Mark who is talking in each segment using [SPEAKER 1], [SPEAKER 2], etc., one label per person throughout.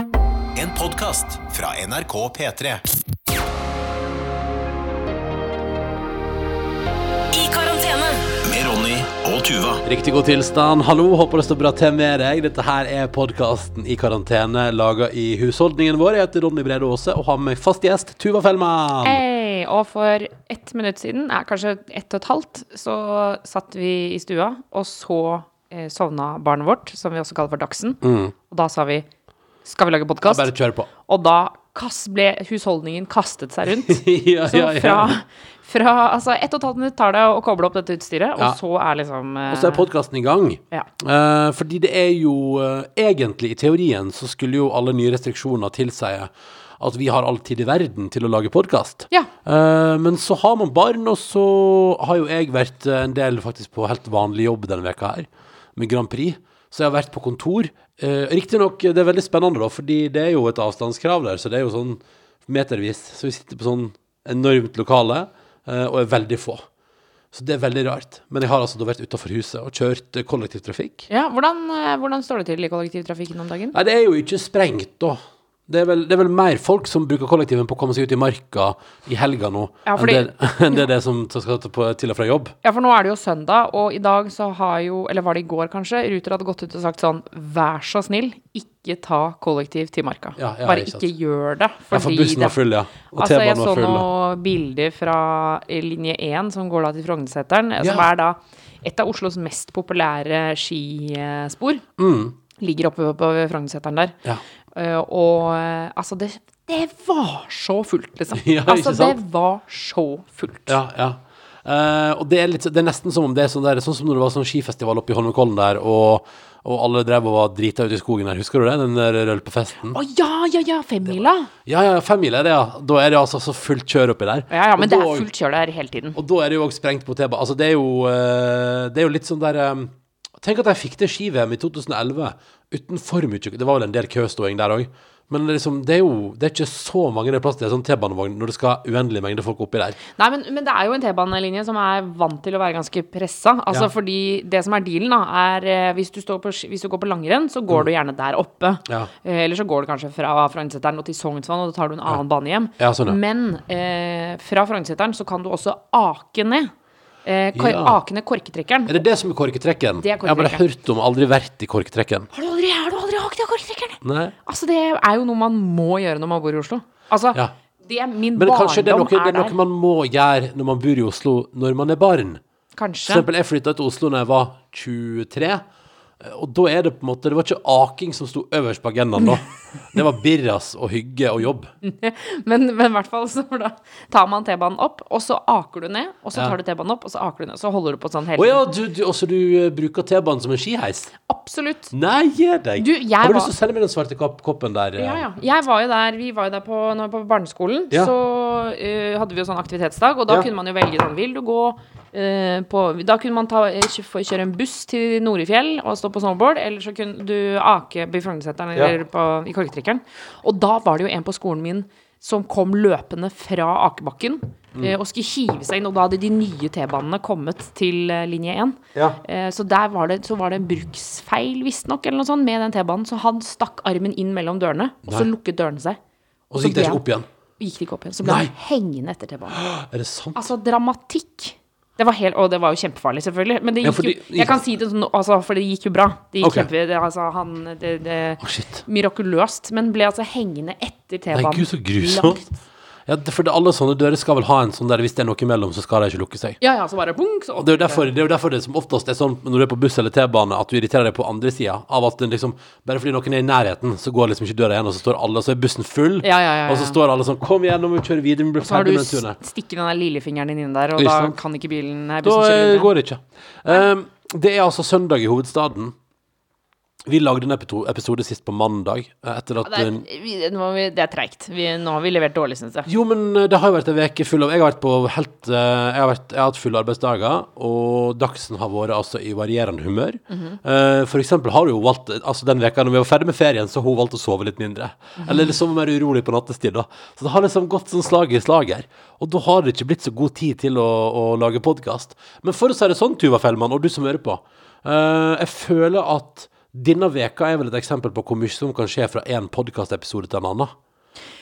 [SPEAKER 1] En podkast fra NRK P3.
[SPEAKER 2] I karantene.
[SPEAKER 1] Med Ronny og Tuva.
[SPEAKER 3] Riktig god tilstand. Hallo, håper det står bra til med deg. Dette her er podkasten I karantene, laga i husholdningen vår. Jeg heter Ronny Brede Aase og har med meg fast gjest Tuva Fellmann.
[SPEAKER 4] Hei, og for ett minutt siden, eh, kanskje ett og et halvt, så satt vi i stua, og så eh, sovna barnet vårt, som vi også kaller for Dagsen. Og da sa vi skal vi lage
[SPEAKER 3] Mm.
[SPEAKER 4] podkast?
[SPEAKER 3] Bare kjør på.
[SPEAKER 4] Og da kast, ble husholdningen kastet seg rundt.
[SPEAKER 3] ja,
[SPEAKER 4] Så fra, fra altså ett og et halvt minutt tar det å koble opp dette utstyret, og
[SPEAKER 3] Ja.
[SPEAKER 4] så er liksom eh,
[SPEAKER 3] Og så er podkasten i gang.
[SPEAKER 4] Ja.
[SPEAKER 3] Eh, fordi det er jo eh, egentlig, i teorien, så skulle jo alle nye restriksjoner tilsi at vi har all tid i verden til å lage podkast.
[SPEAKER 4] Ja.
[SPEAKER 3] Eh, men så har man barn, og så har jo jeg vært eh, en del faktisk på helt vanlig jobb denne veka her, med Grand Prix. Så jeg har vært på kontor. Uh, Riktignok, det er veldig spennende, da, fordi det er jo et avstandskrav der, så det er jo sånn metervis. Så vi sitter på sånn enormt lokale, eh, og er veldig få. Så det er veldig rart. Men jeg har altså da vært utafor huset og kjørt eh, kollektivtrafikk.
[SPEAKER 4] ja, hvordan, eh, hvordan står det til i kollektivtrafikken om dagen?
[SPEAKER 3] Nei, det er jo ikke sprengt, da. Det er, vel, det er vel mer folk som bruker kollektiven på å komme seg ut i marka i helga nå,
[SPEAKER 4] Ja,
[SPEAKER 3] enn
[SPEAKER 4] fordi-
[SPEAKER 3] det enn det, er det som skal til på- til og fra jobb.
[SPEAKER 4] Ja, for nå er det jo søndag, og i dag så har jo, eller var det i går kanskje, Ruter hadde gått ut og sagt sånn, vær så snill, ikke ta kollektiv til marka.
[SPEAKER 3] Ja, ja,
[SPEAKER 4] Bare
[SPEAKER 3] ikke sant.
[SPEAKER 4] ikke gjør det.
[SPEAKER 3] Ja, for
[SPEAKER 4] fordi
[SPEAKER 3] bussen var
[SPEAKER 4] det-
[SPEAKER 3] full, ja. Og
[SPEAKER 4] altså, jeg
[SPEAKER 3] T-banen
[SPEAKER 4] så
[SPEAKER 3] var full. ja.
[SPEAKER 4] noen bilder fra eh, linje 1 som går da til Frognerseteren, eh, som
[SPEAKER 3] Ja.
[SPEAKER 4] er da et av Oslos mest populære skispor. Ligger oppe på Frognerseteren der.
[SPEAKER 3] Mm. Ja.
[SPEAKER 4] Eh, og eh, altså, det, det var så fullt, liksom.
[SPEAKER 3] Ja, ikke
[SPEAKER 4] altså, det
[SPEAKER 3] sant?
[SPEAKER 4] var så fullt.
[SPEAKER 3] Ja, ja. Eh, og det er, litt, så- det er nesten som om det er sånn, der, sånn som når det var sånn skifestival oppe i Holmenkollen der, og, og alle drev og var drita ute i skogen der. Husker du det? Den der rølpefesten?
[SPEAKER 4] Å ja, ja, ja, femmila!
[SPEAKER 3] Ja, ja, femmil er det, ja. Da er det altså så fullt kjør oppi der.
[SPEAKER 4] Ja, ja, men
[SPEAKER 3] Og
[SPEAKER 4] det
[SPEAKER 3] da-
[SPEAKER 4] er fullt kjør der hele tiden.
[SPEAKER 3] Og da er det jo også sprengt på T-banen. Altså, det er jo, eh, det er jo litt sånn der eh, Tenk at de fikk til ski-VM i 2011 uten for mye Det var vel en del køståing der òg. Men liksom, det er jo det er ikke så mange det er plass til i en sånn T-banevogn når det skal uendelig mengde folk oppi der.
[SPEAKER 4] Nei, men, men det er jo en T-banelinje som er vant til å være ganske pressa. Altså
[SPEAKER 3] Ja.
[SPEAKER 4] fordi det som er dealen, da, er eh, hvis du, står på, ski- hvis du går på langrenn, så går du gjerne der oppe.
[SPEAKER 3] Mm. Ja.
[SPEAKER 4] Eh, eller så går du kanskje fra Frognerseteren og til Sognsvann, og da tar du en annen bane hjem.
[SPEAKER 3] Ja, sånn, ja.
[SPEAKER 4] Men eh, fra Frognerseteren så kan du også ake ned. Eh, kor
[SPEAKER 3] Ja.
[SPEAKER 4] Ake ned korketrekkeren.
[SPEAKER 3] Er det det som er korketrekken?
[SPEAKER 4] Det er
[SPEAKER 3] Jeg har bare
[SPEAKER 4] korketrekken.
[SPEAKER 3] hørt om, aldri vært i korketrekken.
[SPEAKER 4] Har du aldri, har du aldri akt i korketrekkeren?
[SPEAKER 3] Nei.
[SPEAKER 4] Altså, det er jo noe man må gjøre når man bor i Oslo. Altså,
[SPEAKER 3] Ja.
[SPEAKER 4] det er min
[SPEAKER 3] Men
[SPEAKER 4] barndom
[SPEAKER 3] kanskje det er noe, det
[SPEAKER 4] er
[SPEAKER 3] er noe
[SPEAKER 4] der.
[SPEAKER 3] man må gjøre når man bor i Oslo når man er barn. For
[SPEAKER 4] Kanskje.
[SPEAKER 3] eksempel, jeg flytta til Oslo da jeg var 23. Og da er det på en måte Det var ikke aking som sto øverst på agendaen da. Det var birras og hygge og jobb.
[SPEAKER 4] Mm. Men, men i hvert fall så da tar man T-banen opp, og så aker du ned, og så
[SPEAKER 3] Ja.
[SPEAKER 4] tar du T-banen opp, og så aker du ned. Så holder du på sånn hele
[SPEAKER 3] Å ja,
[SPEAKER 4] tiden.
[SPEAKER 3] du, du, også du eh, bruker T-banen som en skiheis?
[SPEAKER 4] Absolutt.
[SPEAKER 3] Nei, gi deg!
[SPEAKER 4] Du, jeg
[SPEAKER 3] har du
[SPEAKER 4] var-
[SPEAKER 3] lyst til å selge meg den svarte kopp koppen der? eh?
[SPEAKER 4] Ja, ja. Jeg var jo der, vi var jo der på, når, på barneskolen.
[SPEAKER 3] Ja.
[SPEAKER 4] Så eh, hadde vi jo sånn aktivitetsdag, og da
[SPEAKER 3] Ja.
[SPEAKER 4] kunne man jo velge sånn Vil du gå eh, på Da kunne man ta, eh, kjø- få kjøre en buss til Norefjell og stå på snowboard, eller så kunne du ake i Frognerseteren
[SPEAKER 3] Ja.
[SPEAKER 4] eller på, i Korketrekkeren. Og da var det jo en på skolen min som kom løpende fra akebakken
[SPEAKER 3] Mm.
[SPEAKER 4] eh, og skulle hive seg inn, og da hadde de nye T-banene kommet til eh, linje 1.
[SPEAKER 3] Ja.
[SPEAKER 4] Eh, Så der var det, så var det en bruksfeil, visstnok, eller noe sånt, med den T-banen. Så han stakk armen inn mellom dørene, og så
[SPEAKER 3] Nei.
[SPEAKER 4] lukket dørene seg.
[SPEAKER 3] Og så gikk det
[SPEAKER 4] ble
[SPEAKER 3] ikke opp igjen.
[SPEAKER 4] han- Gikk det ikke opp igjen. Så ble
[SPEAKER 3] Nei.
[SPEAKER 4] han hengende etter T-banen.
[SPEAKER 3] Er det sant?
[SPEAKER 4] Altså, dramatikk. Det var helt, og det var jo kjempefarlig, selvfølgelig. Men det
[SPEAKER 3] Ja,
[SPEAKER 4] gikk
[SPEAKER 3] fordi-
[SPEAKER 4] jo Jeg kan si det sånn, altså, for det gikk jo bra. Det gikk
[SPEAKER 3] Ok.
[SPEAKER 4] kjempe... Det, altså, han det, det,
[SPEAKER 3] Å, shit.
[SPEAKER 4] Mirakuløst. Men ble altså hengende etter T-banen.
[SPEAKER 3] Nei, gud, så grusomt.
[SPEAKER 4] Langt.
[SPEAKER 3] Ja, det- for det, alle sånne dører skal vel ha en sånn der hvis det er noe imellom, så skal de ikke lukke seg.
[SPEAKER 4] Ja, ja, så bare bunk, så
[SPEAKER 3] Og det er jo derfor det, er jo derfor det som oftest er sånn når du er på buss eller T-bane, at du irriterer deg på andre sida. Av at den liksom, bare fordi noen er i nærheten, så går liksom ikke døra igjen, og så står alle, og så er bussen full,
[SPEAKER 4] Ja, ja, ja, ja.
[SPEAKER 3] og så står alle sånn Kom igjen, nå må vi kjøre videre, vi blir
[SPEAKER 4] Så har
[SPEAKER 3] ferdig
[SPEAKER 4] du
[SPEAKER 3] med den turen her.
[SPEAKER 4] stikket den der lillefingeren din inni der, og
[SPEAKER 3] Ikke
[SPEAKER 4] da
[SPEAKER 3] sant?
[SPEAKER 4] kan ikke bilen nei,
[SPEAKER 3] Da
[SPEAKER 4] bussen kjøre
[SPEAKER 3] eh,
[SPEAKER 4] videre.
[SPEAKER 3] går det ikke. Ehm, det er altså søndag i hovedstaden. Vi lagde en episo- episode sist på mandag, eh, etter at
[SPEAKER 4] Det er,
[SPEAKER 3] eh,
[SPEAKER 4] vi, nå må vi, det er treigt. Vi, nå har vi levert dårlig, syns jeg.
[SPEAKER 3] Jo, men eh, det har jo vært en veke full av Jeg har vært på helt eh, Jeg har, vært, jeg har hatt fulle arbeidsdager, og Dagsen har vært altså i varierende humør. Eh, for eksempel har hun jo valgt Altså den veka når vi var ferdig med ferien, så har hun valgt å sove litt mindre. Eller liksom være urolig på nattestid, da. Så det har liksom gått sånn slag i slag her. Og da har det ikke blitt så god tid til å, å lage podkast. Men for å si det sånn, Tuva Fellmann, og du som hører på, eh, jeg føler at Denne veka er vel et eksempel på hvor mye som kan skje fra en podkastepisode til en annen.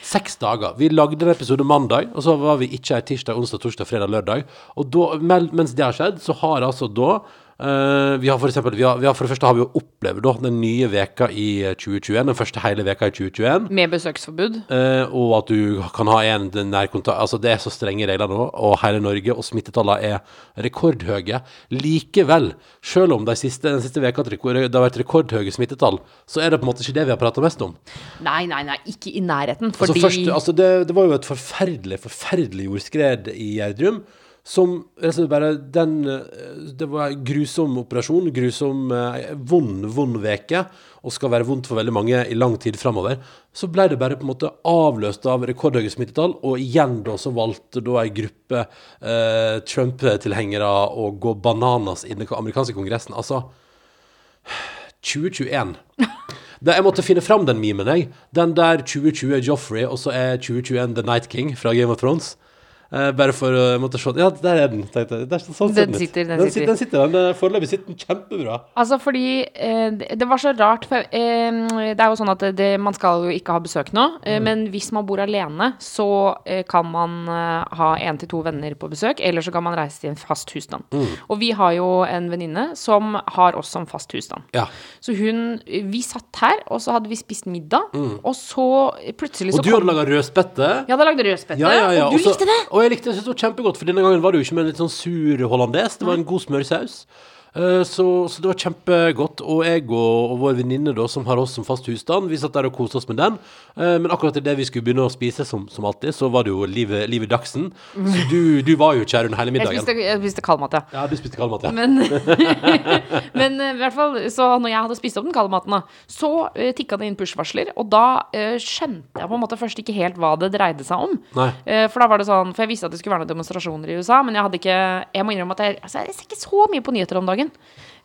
[SPEAKER 3] Seks dager. Vi lagde en episode mandag, og så var vi ikke her tirsdag, onsdag, torsdag, fredag, lørdag. Og da, men- mens det har skjedd, så har altså da eh, vi har for, eksempel, vi har, vi har, for det første har vi jo opplevd da, den nye veka i eh, 2021, den første hele veka i 2021.
[SPEAKER 4] Med besøksforbud.
[SPEAKER 3] Eh, og at du kan ha en nærkontakt Altså, det er så strenge regler nå, og hele Norge, og smittetallene er rekordhøye. Likevel, selv om de siste, den siste veka at rekord- det har vært rekordhøye smittetall, så er det på en måte ikke det vi har prata mest om.
[SPEAKER 4] Nei, nei, nei, ikke i nærheten.
[SPEAKER 3] Altså,
[SPEAKER 4] Fordi
[SPEAKER 3] først, altså det, det var jo et forferdelig, forferdelig jordskred i Gjerdrum. Som rett og slett bare den, eh, Det var en grusom operasjon. Grusom, eh, vond, vond veke, og skal være vondt for veldig mange i lang tid framover. Så ble det bare på en måte avløst av rekordhøye smittetall, og igjen da så valgte da ei gruppe eh, Trump-tilhengere å gå bananas i den amerikanske kongressen. Altså 2021. Da jeg måtte finne fram den memen, jeg. Den der 2020 er Joffrey, og så er 2021 The Night King fra Game of Thrones. Eh, bare for å jeg måtte se Ja, der er den, tenkte jeg. Der, sånn ser
[SPEAKER 4] Den
[SPEAKER 3] ut.
[SPEAKER 4] sitter, den
[SPEAKER 3] den
[SPEAKER 4] sitter.
[SPEAKER 3] sitter. Den sitter, den den er Foreløpig sitter den kjempebra.
[SPEAKER 4] Altså fordi eh, det- Det var så rart. For, eh, det er jo sånn at det, det, man skal jo ikke ha besøk nå.
[SPEAKER 3] Mm.
[SPEAKER 4] Eh, Men hvis man bor alene, så eh, kan man eh, ha én til to venner på besøk. Eller så kan man reise til en fast husstand.
[SPEAKER 3] Mm.
[SPEAKER 4] Og vi har jo en venninne som har oss som fast husstand.
[SPEAKER 3] Ja.
[SPEAKER 4] Så hun Vi satt her, og så hadde vi spist middag, og så plutselig
[SPEAKER 3] Mm.
[SPEAKER 4] så
[SPEAKER 3] Og du hadde laga rødspette.
[SPEAKER 4] Jeg hadde lagd rødspette,
[SPEAKER 3] Ja, ja, ja.
[SPEAKER 4] og du
[SPEAKER 3] Også-
[SPEAKER 4] likte det!
[SPEAKER 3] Og jeg likte det, jeg synes det var kjempegodt, for denne gangen var det jo ikke med en litt sånn sur hollandes, det var en god smørsaus. Eh, Så, så det var kjempegodt. Og jeg og, og vår venninne da, som har oss som fast husstand, vi satt der og koste oss med den. Eh, Men akkurat idet vi skulle begynne å spise, som, som alltid, så var det jo livet liv i dagsen. Så du, du var jo ikke her under hele
[SPEAKER 4] Jeg
[SPEAKER 3] middagen.
[SPEAKER 4] spiste, jeg spiste kaldmat, ja.
[SPEAKER 3] Ja, du spiste kaldmat, ja.
[SPEAKER 4] Men, men eh, i hvert fall, så når jeg hadde spist opp den kalde maten, da, så uh, tikka det inn push-varsler. Og da eh, skjønte jeg på en måte først ikke helt hva det dreide seg om.
[SPEAKER 3] Nei.
[SPEAKER 4] Eh, for da var det sånn, for jeg visste at det skulle være noen demonstrasjoner i USA, men jeg hadde ikke Jeg må innrømme at jeg, altså, jeg ser ikke så mye på nyheter om dagen.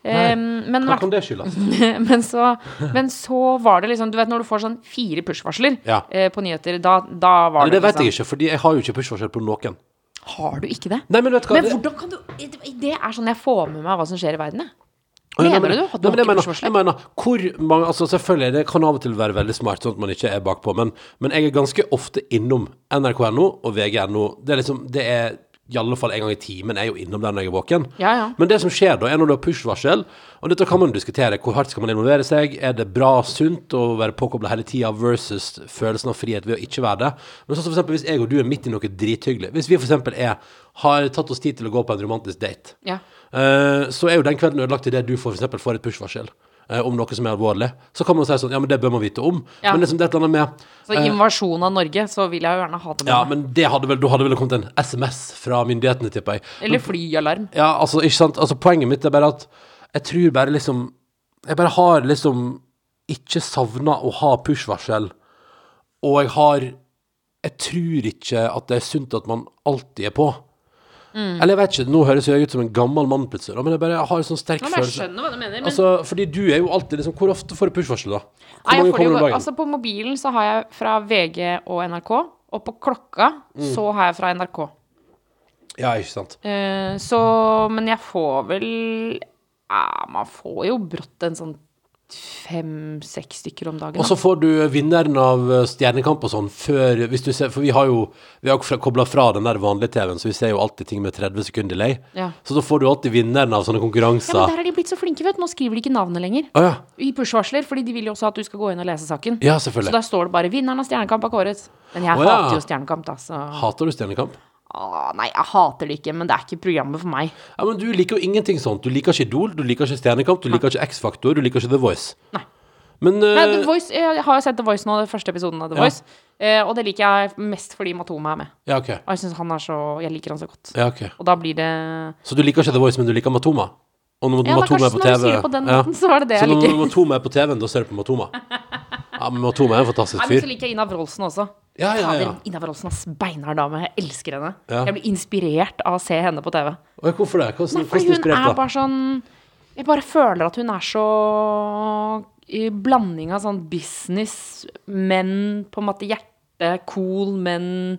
[SPEAKER 4] Eh, men,
[SPEAKER 3] Hva kan det skyldes?
[SPEAKER 4] men, så, men så var det liksom Du vet når du får sånn fire push-varsler
[SPEAKER 3] Ja.
[SPEAKER 4] eh, på nyheter, da, da var
[SPEAKER 3] Men
[SPEAKER 4] det, liksom
[SPEAKER 3] det vet jeg ikke, fordi jeg har jo ikke pushvarsel på noen.
[SPEAKER 4] Har du ikke det?
[SPEAKER 3] Nei, men vet du hva?
[SPEAKER 4] Men
[SPEAKER 3] det-
[SPEAKER 4] hvordan kan du Det er sånn jeg får med meg hva som skjer i verden, jeg.
[SPEAKER 3] Nei, nei,
[SPEAKER 4] Mener
[SPEAKER 3] men-
[SPEAKER 4] du? Hadde
[SPEAKER 3] Nei,
[SPEAKER 4] du
[SPEAKER 3] men jeg mener,
[SPEAKER 4] ikke
[SPEAKER 3] jeg
[SPEAKER 4] pushvarsler?
[SPEAKER 3] mener hvor mange, altså Selvfølgelig, det kan av og til være veldig smart, sånn at man ikke er bakpå, men, men jeg er ganske ofte innom nrk.no og vg.no. Det er liksom, det er i alle fall en gang i timen jeg er jo innom der når jeg er våken.
[SPEAKER 4] Ja, ja.
[SPEAKER 3] Men det som skjer da, er når du har push-varsel, og dette kan man diskutere, hvor hardt skal man involvere seg, er det bra, sunt å være påkoblet hele tiden versus følelsen av frihet ved å ikke være det. Men sånn som for eksempel hvis jeg og du er midt i noe drithyggelig, hvis vi for eksempel er, har tatt oss tid til å gå på en romantisk date,
[SPEAKER 4] Ja.
[SPEAKER 3] Eh, så er jo den kvelden ødelagt idet du får, for eksempel, får et push-varsel eh, om noe som er alvorlig. Så kan man si sånn Ja, men det bør man vite om.
[SPEAKER 4] Ja.
[SPEAKER 3] Men liksom det er et eller annet med
[SPEAKER 4] Så invasjon Altså, av Norge, så vil jeg jo gjerne ha det med
[SPEAKER 3] Ja,
[SPEAKER 4] meg.
[SPEAKER 3] men det hadde vel, da hadde vel kommet en SMS fra myndighetene, tipper jeg.
[SPEAKER 4] Eller flyalarm.
[SPEAKER 3] Ja, altså, ikke sant? Altså, poenget mitt er bare at jeg tror bare liksom Jeg bare har liksom ikke savna å ha push-varsel, og jeg har Jeg tror ikke at det er sunt at man alltid er på.
[SPEAKER 4] Mm.
[SPEAKER 3] Eller jeg vet ikke, nå høres jeg ut som en gammel mann plutselig, da, men jeg bare har en sånn sterk
[SPEAKER 4] Ja, men jeg
[SPEAKER 3] følelse
[SPEAKER 4] skjønner hva du mener. Men
[SPEAKER 3] Altså, fordi du er jo alltid liksom Hvor ofte får du push-varsel, da? Hvor
[SPEAKER 4] nei, jeg
[SPEAKER 3] mange
[SPEAKER 4] får det
[SPEAKER 3] kommer om
[SPEAKER 4] jo,
[SPEAKER 3] dagen?
[SPEAKER 4] altså, på mobilen så har jeg fra VG og NRK, og på klokka
[SPEAKER 3] Mm.
[SPEAKER 4] så har jeg fra NRK.
[SPEAKER 3] Ja, ikke sant.
[SPEAKER 4] Eh, så Men jeg får vel ja, Man får jo brått en sånn fem-seks stykker om dagen.
[SPEAKER 3] Og så får du vinneren av eh, Stjernekamp og sånn før hvis du ser, For vi har jo Vi har jo kobla fra den der vanlige TV-en, så vi ser jo alltid ting med 30 sekunder delay.
[SPEAKER 4] Ja.
[SPEAKER 3] Så da får du alltid vinneren av sånne
[SPEAKER 4] ja, men
[SPEAKER 3] konkurranser.
[SPEAKER 4] der er de blitt så flinke, vet du. Nå skriver de ikke navnet lenger.
[SPEAKER 3] Å ja.
[SPEAKER 4] I push-varsler, fordi de vil jo også at du skal gå inn og lese saken.
[SPEAKER 3] Ja,
[SPEAKER 4] Så
[SPEAKER 3] selvfølgelig.
[SPEAKER 4] der står det bare 'Vinneren av Stjernekamp er kåret'. Men jeg
[SPEAKER 3] Å, ja.
[SPEAKER 4] hater jo Stjernekamp, da, så
[SPEAKER 3] Hater du Stjernekamp?
[SPEAKER 4] Åh, Ah, nei, jeg hater det ikke, men det er ikke programmet for meg.
[SPEAKER 3] Ja, men Du liker jo ingenting sånt. Du liker ikke Idol, du liker ikke Stjernekamp, du liker ikke X-Faktor, du liker ikke The Voice.
[SPEAKER 4] Nei.
[SPEAKER 3] Men eh,
[SPEAKER 4] Nei, The Voice, jeg har jo sett The Voice nå, den første episoden av The
[SPEAKER 3] Ja.
[SPEAKER 4] Voice. Eh, og det liker jeg mest fordi Matoma er med.
[SPEAKER 3] Ja, OK.
[SPEAKER 4] Og jeg synes han er så Jeg liker han så godt.
[SPEAKER 3] Ja, ok
[SPEAKER 4] Og da blir det
[SPEAKER 3] Så du liker ikke The Voice, men du liker Matoma? Og når
[SPEAKER 4] Ja, men
[SPEAKER 3] Matoma er på
[SPEAKER 4] kanskje når du
[SPEAKER 3] TV
[SPEAKER 4] sier det på den måten, så var det det
[SPEAKER 3] så
[SPEAKER 4] jeg
[SPEAKER 3] når
[SPEAKER 4] liker.
[SPEAKER 3] Matoma er på TV-en, da ser du på Matoma? Ja, men Matoma er en fantastisk
[SPEAKER 4] Nei, men så
[SPEAKER 3] fyr.
[SPEAKER 4] liker jeg Ina Wroldsen også.
[SPEAKER 3] Ja, ja, ja.
[SPEAKER 4] Fader, Ina Wroldsen er beinhard dame. Jeg elsker henne.
[SPEAKER 3] Ja.
[SPEAKER 4] Jeg blir inspirert av å se henne på TV.
[SPEAKER 3] Oi, hvorfor det? Hvordan,
[SPEAKER 4] Nei,
[SPEAKER 3] hvordan
[SPEAKER 4] fordi hun er
[SPEAKER 3] inspirert da?
[SPEAKER 4] bare sånn Jeg bare føler at hun er så i blanding av sånn business, men på en måte hjerte, cool, men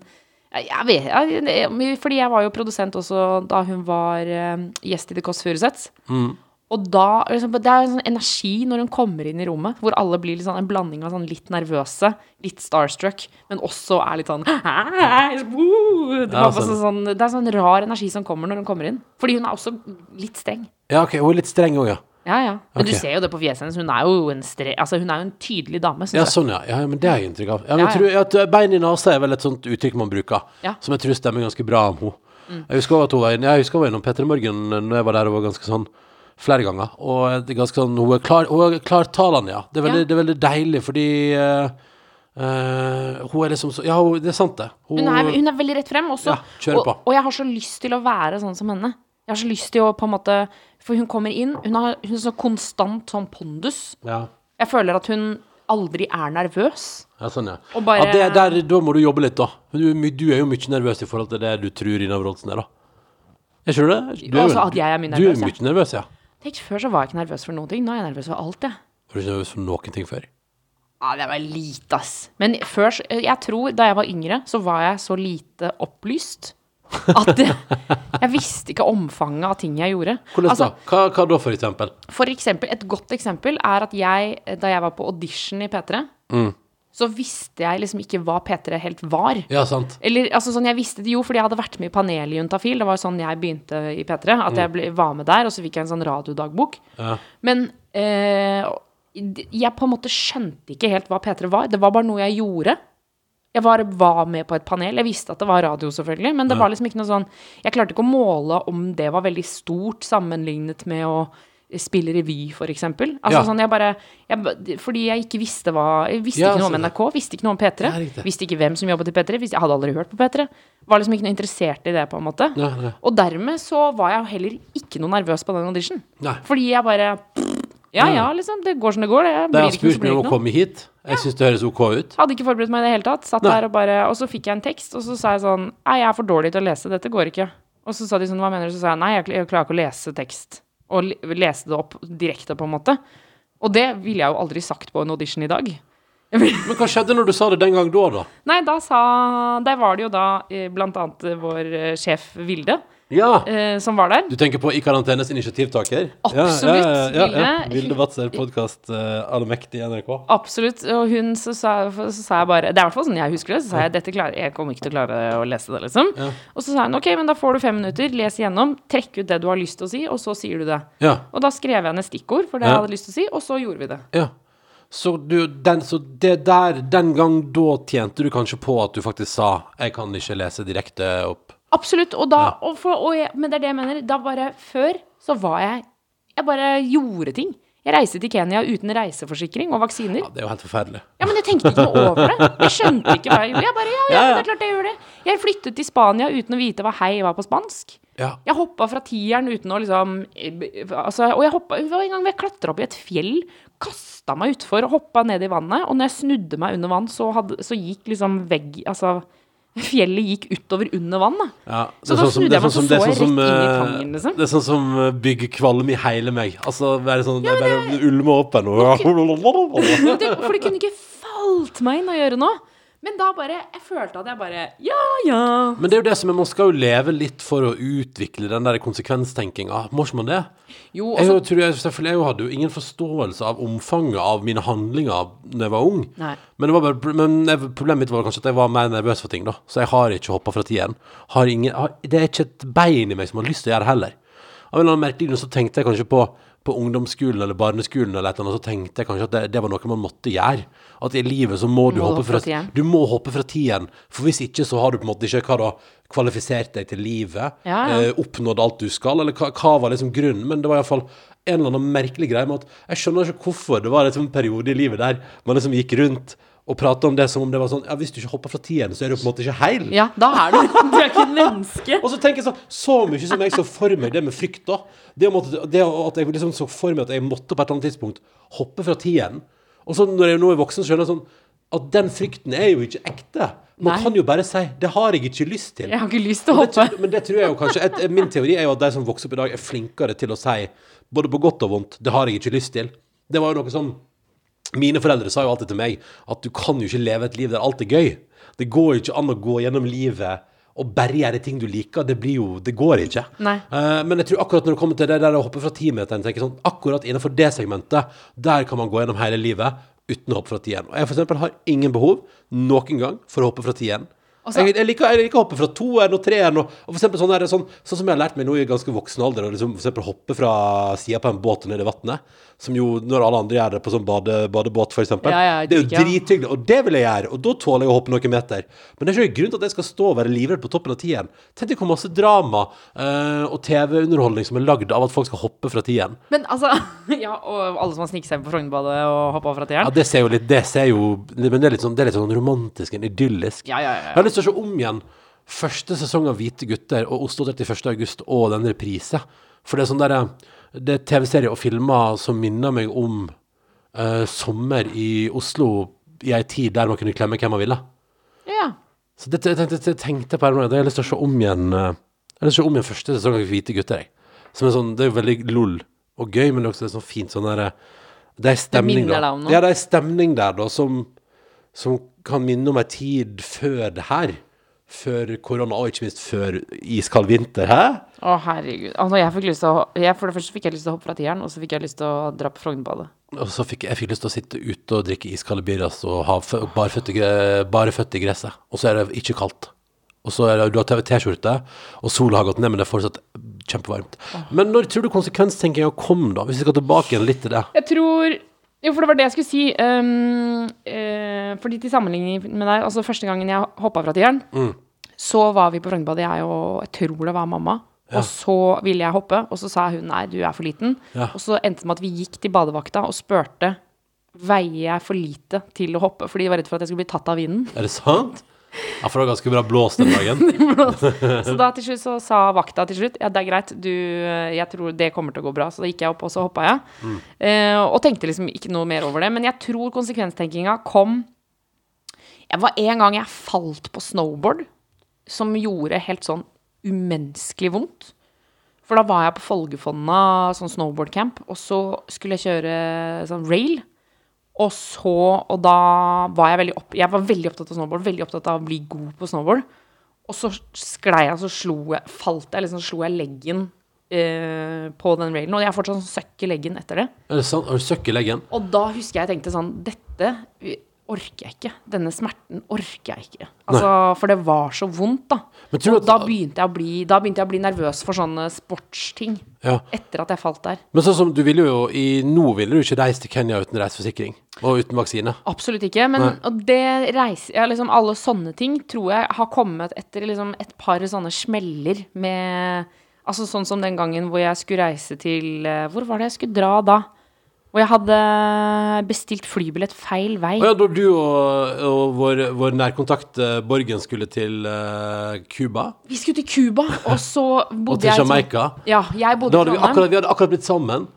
[SPEAKER 4] jeg jeg vet, jeg, Fordi jeg var jo produsent også da hun var eh, gjest i The Kåss Furuseths. Og da, liksom, det er en sånn energi når hun kommer inn i rommet, hvor alle blir litt sånn en blanding av sånn litt nervøse, litt starstruck, men også er litt sånn «Hei, woo!» det,
[SPEAKER 3] Ja,
[SPEAKER 4] var bare
[SPEAKER 3] sånn.
[SPEAKER 4] sånn, det er sånn rar energi som kommer når hun kommer inn. Fordi hun er også litt streng.
[SPEAKER 3] Ja, ok, hun er litt streng òg, ja.
[SPEAKER 4] Ja, ja. Men
[SPEAKER 3] Ok.
[SPEAKER 4] du ser jo det på fjeset hennes. Hun er jo en, stre altså, hun er jo en tydelig dame.
[SPEAKER 3] Ja,
[SPEAKER 4] Synes jeg.
[SPEAKER 3] sånn, ja. ja. Men det har jeg inntrykk av. Ja, men
[SPEAKER 4] Ja,
[SPEAKER 3] jeg tror at eh, Bein i nesa er vel et sånt uttrykk man bruker,
[SPEAKER 4] Ja. Mm.
[SPEAKER 3] som jeg tror stemmer ganske bra om henne. Jeg husker også at hun var, inn- jeg husker hun var innom Petter Morgen eh, når jeg var der, og var ganske sånn flere ganger. Og det er ganske sånn, hun er klar, hun er klartalende, ja. Det er veldig,
[SPEAKER 4] Ja.
[SPEAKER 3] det er veldig deilig, fordi eh, eh, hun er liksom så Ja, hun, det er sant, det.
[SPEAKER 4] Hun, er, hun er veldig rett frem også.
[SPEAKER 3] Ja, kjør på.
[SPEAKER 4] Og, og jeg har så lyst til å være sånn som henne. Jeg har så lyst til å på en måte For hun kommer inn, hun har hun er så konstant sånn pondus.
[SPEAKER 3] ja.
[SPEAKER 4] Jeg føler at hun aldri er nervøs.
[SPEAKER 3] Ja, sånn, ja.
[SPEAKER 4] Og bare-
[SPEAKER 3] ja det, der, da må du jobbe litt, da. Men Du, er my- du er jo mye nervøs i forhold til det du tror Ina Wroldsen er, da. Er ikke du det? Du er
[SPEAKER 4] Altså, at jeg er mye
[SPEAKER 3] Du er
[SPEAKER 4] nervøs, ja.
[SPEAKER 3] mye nervøs, ja.
[SPEAKER 4] Tenk, før så var jeg ikke nervøs for noen ting. Nå er jeg nervøs for alt, jeg.
[SPEAKER 3] Var du ikke nervøs for noen ting før?
[SPEAKER 4] Ja, det var lite, ass. Men før så- Jeg tror da jeg var yngre, så var jeg så lite opplyst at det, jeg visste ikke omfanget av ting jeg gjorde.
[SPEAKER 3] Hvordan
[SPEAKER 4] Altså,
[SPEAKER 3] da? Hva, hva da, for eksempel?
[SPEAKER 4] For eksempel, et godt eksempel er at jeg, da jeg var på audition i P3, Mm. så visste jeg liksom ikke hva P3 helt var.
[SPEAKER 3] Ja, sant.
[SPEAKER 4] Eller, altså sånn, jeg visste det jo fordi jeg hadde vært med i panelet i Juntafil. Det var jo sånn jeg begynte i P3. At jeg ble, var med der, og så fikk jeg en sånn radiodagbok.
[SPEAKER 3] Mm. Ja.
[SPEAKER 4] Men eh, jeg på en måte skjønte ikke helt hva P3 var. Det var bare noe jeg gjorde. Jeg var, var med på et panel. Jeg visste at det var radio, selvfølgelig. Men det var liksom ikke noe sånn Jeg klarte ikke å måle om det var veldig stort sammenlignet med å spille revy, for eksempel. Altså
[SPEAKER 3] Ja.
[SPEAKER 4] sånn, jeg bare jeg, Fordi jeg ikke visste hva Jeg visste
[SPEAKER 3] Ja,
[SPEAKER 4] ikke noe om
[SPEAKER 3] sånn, ja.
[SPEAKER 4] NRK, visste ikke noe om P3.
[SPEAKER 3] Ja, riktig.
[SPEAKER 4] Visste ikke hvem som jobbet i P3. visste- Jeg hadde aldri hørt på P3. Var liksom ikke noe interessert i det, på en måte.
[SPEAKER 3] Nei, nei.
[SPEAKER 4] Og dermed så var jeg jo heller ikke noe nervøs på den audition.
[SPEAKER 3] Nei.
[SPEAKER 4] Fordi jeg bare Ja ja, liksom. Det går som det går. Det
[SPEAKER 3] De
[SPEAKER 4] blir
[SPEAKER 3] har
[SPEAKER 4] ikke noe
[SPEAKER 3] spurt
[SPEAKER 4] som
[SPEAKER 3] meg
[SPEAKER 4] blir
[SPEAKER 3] om å
[SPEAKER 4] ikke noe.
[SPEAKER 3] komme hit. Jeg syns det høres OK ut.
[SPEAKER 4] Hadde ikke forberedt meg i det hele tatt. Satt
[SPEAKER 3] Nei.
[SPEAKER 4] der og bare Og så fikk jeg en tekst, og så sa jeg sånn Nei, jeg er for dårlig til å lese. Dette går ikke. Og så sa de sånn Hva mener du? Så sa jeg nei, jeg, kl- jeg klarer ikke å lese tekst. Og le- lese det opp direkte, på en måte. Og det ville jeg jo aldri sagt på en audition i dag.
[SPEAKER 3] Men hva skjedde når du sa det den gang da, da?
[SPEAKER 4] Nei, da sa Der var det jo da eh, blant annet eh, vår eh, sjef Vilde
[SPEAKER 3] Ja!
[SPEAKER 4] eh, som var der.
[SPEAKER 3] Du tenker på I karantenes initiativtaker?
[SPEAKER 4] Absolutt,
[SPEAKER 3] Ja, ja, ja, ja, ja.
[SPEAKER 4] Vilde.
[SPEAKER 3] Vilde Watzer, podkast uh, allmektig i NRK.
[SPEAKER 4] Absolutt. Og hun så sa, så sa jeg bare Det er i hvert fall sånn jeg husker det. Så sa jeg dette klarer, jeg kommer ikke til å klare å lese det, liksom. Og så sa hun ok, men da får du fem minutter, les igjennom, trekk ut det du har lyst til å si, og så sier du det.
[SPEAKER 3] Ja.
[SPEAKER 4] Og da skrev jeg ned stikkord for det
[SPEAKER 3] Ja.
[SPEAKER 4] jeg hadde lyst til å si, og så gjorde vi det.
[SPEAKER 3] ja. Så, du, den, så det der, den gang da tjente du kanskje på at du faktisk sa 'jeg kan ikke lese direkte opp'?
[SPEAKER 4] Absolutt. Og da og for, og jeg, Men det er det jeg mener. Da bare Før så var jeg Jeg bare gjorde ting. Jeg reiste til Kenya uten reiseforsikring og vaksiner.
[SPEAKER 3] Ja, det er jo helt forferdelig.
[SPEAKER 4] Ja, men jeg tenkte ikke noe over det. Jeg skjønte ikke hva jeg gjorde. Jeg bare, ja, ja,
[SPEAKER 3] Ja, ja.
[SPEAKER 4] det er klart jeg gjør det. Jeg flyttet til Spania uten å vite hva hei var på spansk.
[SPEAKER 3] Ja.
[SPEAKER 4] Jeg hoppa fra tieren uten å liksom eh, b- altså, Og jeg hoppa det var en gang jeg klatra opp i et fjell, kasta meg utfor og hoppa ned i vannet. Og når jeg snudde meg under vann, så, hadde, så gikk liksom vegg Altså, fjellet gikk utover under vann, da.
[SPEAKER 3] Ja,
[SPEAKER 4] Så da snudde jeg meg, så
[SPEAKER 3] det er
[SPEAKER 4] så jeg
[SPEAKER 3] sånn som,
[SPEAKER 4] rett inn i
[SPEAKER 3] eh,
[SPEAKER 4] tangen, liksom.
[SPEAKER 3] Det er sånn som eh, bygger kvalm i hele meg. Altså være sånn jeg bare ulme opp her nå.
[SPEAKER 4] Men det, for det kunne ikke falt meg inn å gjøre noe. Men da bare Jeg følte at jeg bare Ja, ja.
[SPEAKER 3] Men det er jo det som er, man skal jo leve litt for å utvikle den der konsekvenstenkinga. Må ikke man det?
[SPEAKER 4] Jo,
[SPEAKER 3] Jeg,
[SPEAKER 4] altså,
[SPEAKER 3] jo tror jeg, selvfølgelig, jeg jo hadde jo ingen forståelse av omfanget av mine handlinger da jeg var ung.
[SPEAKER 4] Nei.
[SPEAKER 3] Men, det var bare, men jeg, problemet mitt var kanskje at jeg var mer nervøs for ting, da. Så jeg har ikke hoppa fra tieren. Har ingen, har, det er ikke et bein i meg som har lyst til å gjøre det heller. Av en eller annen merkelig grunn så tenkte jeg kanskje på, på ungdomsskolen eller barneskolen eller et eller annet, så tenkte jeg kanskje at det, det var noe man måtte gjøre. At i livet så må du,
[SPEAKER 4] Må
[SPEAKER 3] hoppe, fra,
[SPEAKER 4] tieren.
[SPEAKER 3] du må hoppe fra tieren. For hvis ikke så har du på en måte ikke hva da, kvalifisert deg til livet,
[SPEAKER 4] Ja, ja.
[SPEAKER 3] eh, oppnådd alt du skal, eller hva, hva var liksom grunnen? Men det var iallfall en eller annen merkelig greie med at jeg skjønner ikke hvorfor det var liksom en periode i livet der man liksom gikk rundt og prata om det som om det var sånn Ja, hvis du ikke hopper fra tieren, så er du på en måte ikke heil.
[SPEAKER 4] ja, da er du Du er ikke et menneske.
[SPEAKER 3] Og så tenker jeg sånn Så mye som jeg så for meg det med frykt, da. Det, å måtte, det å- at jeg liksom så for meg at jeg måtte på et eller annet tidspunkt hoppe fra tieren. Og så når jeg nå er voksen, så skjønner jeg sånn at den frykten er jo ikke ekte. Man
[SPEAKER 4] Nei.
[SPEAKER 3] kan jo bare si 'Det har jeg ikke lyst til'.
[SPEAKER 4] Jeg har ikke lyst til å
[SPEAKER 3] Men det,
[SPEAKER 4] hoppe.
[SPEAKER 3] tror- men det tror jeg jo kanskje et, Min teori er jo at de som vokser opp i dag, er flinkere til å si, både på godt og vondt, 'det har jeg ikke lyst til'. Det var jo noe som Mine foreldre sa jo alltid til meg at du kan jo ikke leve et liv der alt er gøy. Det går jo ikke an å gå gjennom livet å bare gjøre ting du liker, det blir jo Det går ikke.
[SPEAKER 4] Nei.
[SPEAKER 3] Eh, men jeg tror akkurat når det kommer til det der å hoppe fra timeteren, tenker jeg sånn Akkurat innenfor det segmentet, der kan man gå gjennom hele livet uten å hoppe fra tieren. Og jeg for eksempel har ingen behov noen gang for å hoppe fra tieren.
[SPEAKER 4] Altså-
[SPEAKER 3] jeg, jeg, liker, jeg liker å hoppe fra toeren og treeren. Og, og for eksempel sånn, der, sånn, sånn som jeg har lært meg nå i ganske voksen alder, å liksom, for eksempel hoppe fra sida på en båt og ned i vannet. Som jo, når alle andre gjør det på sånn bade, badebåt, for eksempel.
[SPEAKER 4] Ja, ja,
[SPEAKER 3] det er jo
[SPEAKER 4] digg, ja.
[SPEAKER 3] drithyggelig, og det vil jeg gjøre. Og da tåler jeg å hoppe noen meter. Men det er ikke noen grunn til at jeg skal stå og være livredd på toppen av tieren. Tenk deg hvor masse drama eh, og TV-underholdning som er lagd av at folk skal hoppe fra tieren.
[SPEAKER 4] Men altså Ja, og alle som har sniket seg på Frognerbadet og hoppa over fra
[SPEAKER 3] Ja,
[SPEAKER 4] tieren.
[SPEAKER 3] det ser jo litt Det ser jo Men det er litt sånn, det er litt sånn romantisk, en idyllisk.
[SPEAKER 4] Ja, ja, ja, ja.
[SPEAKER 3] Jeg har lyst til å se om igjen første sesong av Hvite gutter og Oslo 31. august og den reprise. For det er sånn derre Det er TV-serier og filmer som minner meg om eh, sommer i Oslo i ei tid der man kunne klemme hvem man ville.
[SPEAKER 4] Ja.
[SPEAKER 3] Så det, det, det, det tenkte jeg på her om dagen. Jeg har lyst til å se om igjen eh, Jeg har lyst til å se om igjen første sesong av Hvite gutter. Jeg. Som er sånn, det er jo veldig lol og gøy, men det er også litt sånn fint sånn der, eh, Det er stemning,
[SPEAKER 4] minner
[SPEAKER 3] da.
[SPEAKER 4] deg om noe.
[SPEAKER 3] Ja, det er stemning der, da, som, som kan minne om ei tid før det her. Før korona, og ikke minst før iskald vinter. Hæ?
[SPEAKER 4] Å, herregud. Altså, jeg fikk lyst til å, jeg, for det første fikk jeg lyst til å hoppe fra tieren, og så fikk jeg lyst til å dra på Frognerbadet.
[SPEAKER 3] Og så fikk jeg, jeg fikk lyst til å sitte ute og drikke iskalde birras og ha fø- barføtte, gre- bareføtte i gresset. Og så er det ikke kaldt. Og så er det, du har T- T-skjorte, og sola har gått ned, men det er fortsatt kjempevarmt. Men når tror du konsekvenstenkinga kom, da? Hvis vi skal tilbake igjen litt til det.
[SPEAKER 4] Jeg tror Jo, for det var det jeg skulle si. Um, eh, fordi til sammenligning med deg, altså første gangen jeg hoppa fra tieren, så var vi på Frognerbadet, jeg og jeg tror det var mamma. Og så ville jeg hoppe, og så sa hun nei, du er for liten.
[SPEAKER 3] Ja.
[SPEAKER 4] Og så endte det med at vi gikk til badevakta og spurte veier jeg for lite til å hoppe, fordi de var redd for at jeg skulle bli tatt av vinden.
[SPEAKER 3] Er det sant? Ja, for det var ganske bra blåst den dagen.
[SPEAKER 4] Så da til slutt så sa vakta til slutt Ja, det er greit, du, eh, jeg tror det kommer til å gå bra Så da gikk jeg opp og så hoppet jeg eh, Og tenkte liksom ikke noe mer over det Men jeg tror konsekvenstenkinga kom Jeg var en gang jeg falt på snowboard Som gjorde helt sånn umenneskelig vondt For da var jeg på Folgefonna Sånn snowboardcamp Og så skulle jeg kjøre sånn rail og så, og da var jeg veldig, opp, jeg var veldig opptatt av snowboard, veldig opptatt av å bli god på snowboard. Og så sklei jeg, og så slo jeg, falt jeg, liksom slo jeg leggen eh, på den railen. Og jeg er fortsatt sånn søkk i leggen etter det.
[SPEAKER 3] Er det sant? Har du søkk i leggen?
[SPEAKER 4] Og da husker jeg jeg tenkte sånn, dette orker jeg ikke. Denne smerten orker jeg ikke. Altså, for det var så vondt da.
[SPEAKER 3] Men tror du
[SPEAKER 4] og
[SPEAKER 3] at-
[SPEAKER 4] da begynte, jeg å bli, da begynte jeg å bli nervøs for sånne sportsting.
[SPEAKER 3] Ja.
[SPEAKER 4] Etter at jeg falt der.
[SPEAKER 3] Men sånn som du ville jo i Nå ville du ikke reist til Kenya uten reiseforsikring og uten vaksine.
[SPEAKER 4] Absolutt ikke. Men
[SPEAKER 3] Nei.
[SPEAKER 4] og det reiser, ja, liksom, alle sånne ting tror jeg har kommet etter liksom, et par sånne smeller med Altså sånn som den gangen hvor jeg skulle reise til eh, Hvor var det jeg skulle dra da? Hvor jeg hadde bestilt flybillett feil vei.
[SPEAKER 3] Og ja, da du og, og vår, vår nærkontakt eh, Borgen skulle til eh, Cuba
[SPEAKER 4] Vi skulle til Cuba, og så
[SPEAKER 3] og
[SPEAKER 4] bodde
[SPEAKER 3] til
[SPEAKER 4] jeg i Trond-
[SPEAKER 3] Jamaica
[SPEAKER 4] Ja, jeg bodde
[SPEAKER 3] Da
[SPEAKER 4] i
[SPEAKER 3] hadde vi
[SPEAKER 4] Trondheim.
[SPEAKER 3] akkurat, vi hadde akkurat blitt sammen,